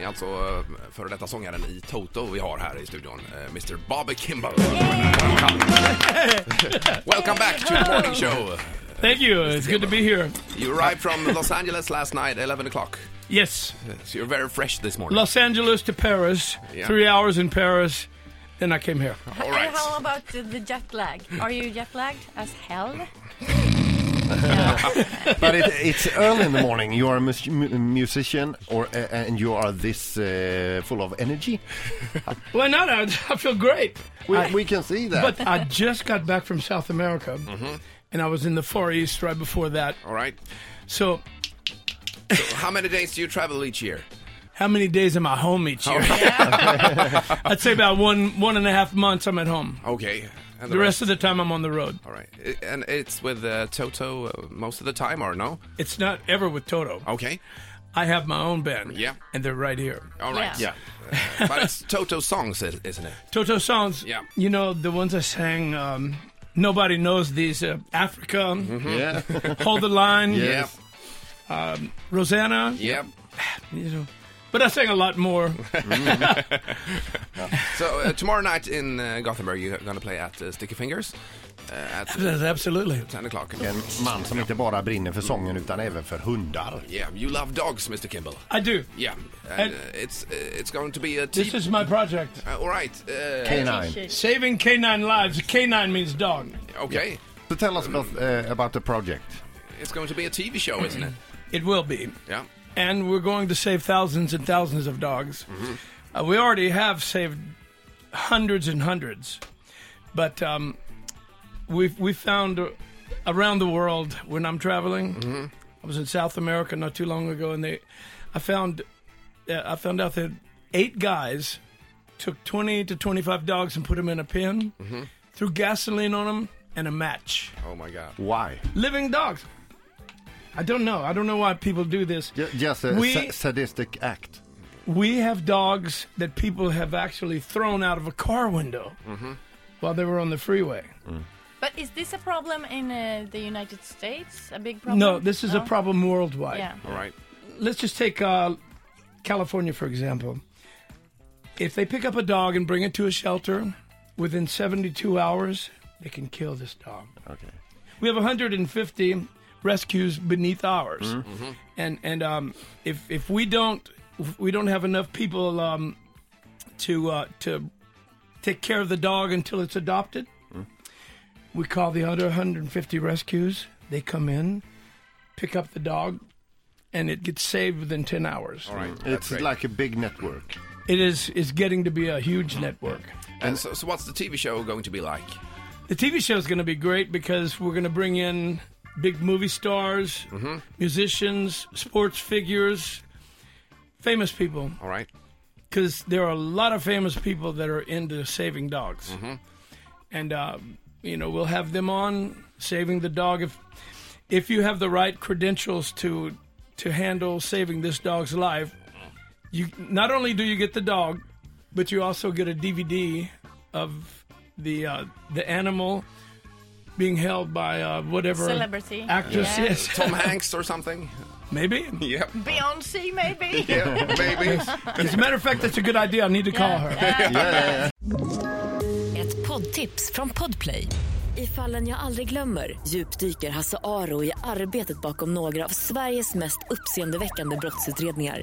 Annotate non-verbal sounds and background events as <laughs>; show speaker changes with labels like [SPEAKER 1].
[SPEAKER 1] är alltså eh, före detta sångaren i Toto vi har här i studion, eh, Mr Bobby Kimball. Welcome back to the morning show.
[SPEAKER 2] Thank you. It's good to be here.
[SPEAKER 1] You arrived from Los Angeles last night, 11 o'clock.
[SPEAKER 2] Yes,
[SPEAKER 1] So you're very fresh this morning.
[SPEAKER 2] Los Angeles to Paris.
[SPEAKER 1] Yeah. Oh.
[SPEAKER 2] Three hours in Paris. Then I came here.
[SPEAKER 1] All
[SPEAKER 3] And
[SPEAKER 1] right.
[SPEAKER 3] how about the- the jet lag? Are you jet lagged as hell?
[SPEAKER 4] But it, it's early in the morning. You are a mus- mu- musician, or uh, and you are this uh, full of energy.
[SPEAKER 2] Why not? I, I feel great.
[SPEAKER 4] We, we can see that.
[SPEAKER 2] But I just got back from South America. And I was in the Far East right before that.
[SPEAKER 1] All right.
[SPEAKER 2] So,
[SPEAKER 1] How many days do you travel each year?
[SPEAKER 2] how many days am I home each year? <laughs> I'd say about one one and a half months. I'm at home.
[SPEAKER 1] Okay. And
[SPEAKER 2] The rest of the time, I'm on the road.
[SPEAKER 1] All right. I- And it's with uh, Toto uh, most of the time, or no?
[SPEAKER 2] It's not ever with Toto.
[SPEAKER 1] Okay.
[SPEAKER 2] I have my own band.
[SPEAKER 1] Oh. Yeah.
[SPEAKER 2] and they're right here.
[SPEAKER 1] All right.
[SPEAKER 3] Yeah.
[SPEAKER 1] Uh, but it's Toto songs, i- isn't it?
[SPEAKER 2] Toto songs.
[SPEAKER 1] Yeah.
[SPEAKER 2] You know, the ones I sang, um, nobody knows these. Uh, Africa,
[SPEAKER 4] yeah.
[SPEAKER 2] Hold the Line,
[SPEAKER 1] Mm-hmm. <laughs> Yeah.
[SPEAKER 2] Rosanna,
[SPEAKER 1] Yeah.
[SPEAKER 2] you know. But I sang a
[SPEAKER 1] <laughs>
[SPEAKER 2] lot more.
[SPEAKER 1] So uh, tomorrow night in uh, Gothenburg, you're going to play at uh, Sticky Fingers uh, at
[SPEAKER 2] Absolutely.
[SPEAKER 1] 10 o'clock.
[SPEAKER 4] En man som inte bara brinner för sången utan även för hundar.
[SPEAKER 1] Yeah, you love dogs, Mr. Kimball.
[SPEAKER 2] I do.
[SPEAKER 1] Yeah, and
[SPEAKER 2] And-
[SPEAKER 1] uh, it's uh, it's going to be a
[SPEAKER 2] This
[SPEAKER 1] team.
[SPEAKER 2] is my project.
[SPEAKER 1] Uh, all right. Uh,
[SPEAKER 4] Canine.
[SPEAKER 2] Saving canine lives. Canine means dog.
[SPEAKER 1] okay.
[SPEAKER 4] So tell us about, uh, about the project.
[SPEAKER 1] It's going to be a TV show, isn't it?
[SPEAKER 2] It will be.
[SPEAKER 1] Yeah.
[SPEAKER 2] And we're going to save thousands and thousands of dogs.
[SPEAKER 4] Mm-hmm.
[SPEAKER 2] Uh, we already have saved hundreds and hundreds. But um, we've, we found uh, around the world when I'm traveling,
[SPEAKER 4] Mm-hmm.
[SPEAKER 2] I was in South America not too long ago, and they, I found, uh, I found out that eight guys took 20 to 25 dogs and put them in a pen,
[SPEAKER 4] Mm-hmm.
[SPEAKER 2] threw gasoline on them, and a match.
[SPEAKER 1] Oh my God.
[SPEAKER 4] Why?
[SPEAKER 2] Living dogs. I don't know. I don't know why people do this.
[SPEAKER 4] Ju- Just a
[SPEAKER 2] We-
[SPEAKER 4] sa- sadistic act.
[SPEAKER 2] We have dogs that people have actually thrown out of a car window while they were on the freeway.
[SPEAKER 3] But is this a problem in uh, the United States? A big problem?
[SPEAKER 2] No, this is a problem worldwide.
[SPEAKER 3] Yeah.
[SPEAKER 1] All right.
[SPEAKER 2] Let's just take uh, California, for example. If they pick up a dog and bring it to a shelter, within 72 hours, they can kill this dog.
[SPEAKER 4] Okay.
[SPEAKER 2] We have 150 rescues beneath ours,
[SPEAKER 1] Mm-hmm.
[SPEAKER 2] and and um, if if we don't if we don't have enough people um, to uh, to take care of the dog until it's adopted,
[SPEAKER 1] Mm-hmm.
[SPEAKER 2] we call the other 150 rescues. They come in, pick up the dog, and it gets saved within 10 hours.
[SPEAKER 1] All right. That's
[SPEAKER 4] It's
[SPEAKER 1] great.
[SPEAKER 4] like a big network.
[SPEAKER 2] It is is getting to be a
[SPEAKER 1] Mm-hmm.
[SPEAKER 2] huge network.
[SPEAKER 1] And so, so, what's the TV show going to be like?
[SPEAKER 2] The TV show is going to be great because we're going to bring in big movie stars, musicians, sports figures, famous people.
[SPEAKER 1] All right.
[SPEAKER 2] Because there are a lot of famous people that are into saving dogs, and uh, you know we'll have them on saving the dog. If if you have the right credentials to to handle saving this dog's life, you not only do you get the dog, but you also get a DVD of the uh, the animal being held by uh, whatever
[SPEAKER 3] Celebrity.
[SPEAKER 2] actress
[SPEAKER 3] Yeah.
[SPEAKER 2] is.
[SPEAKER 1] Tom Hanks or something?
[SPEAKER 2] <laughs>
[SPEAKER 1] <laughs>
[SPEAKER 2] Maybe. <laughs>
[SPEAKER 1] Yep.
[SPEAKER 3] Beyonce, maybe?
[SPEAKER 1] Yeah, maybe.
[SPEAKER 2] As a matter of fact, that's a good idea. I need to call her.
[SPEAKER 5] Ett poddtips från Podplay. I fallen jag aldrig glömmer djupdyker Hasse Aro i arbetet bakom några av Sveriges mest uppseendeväckande brottsutredningar.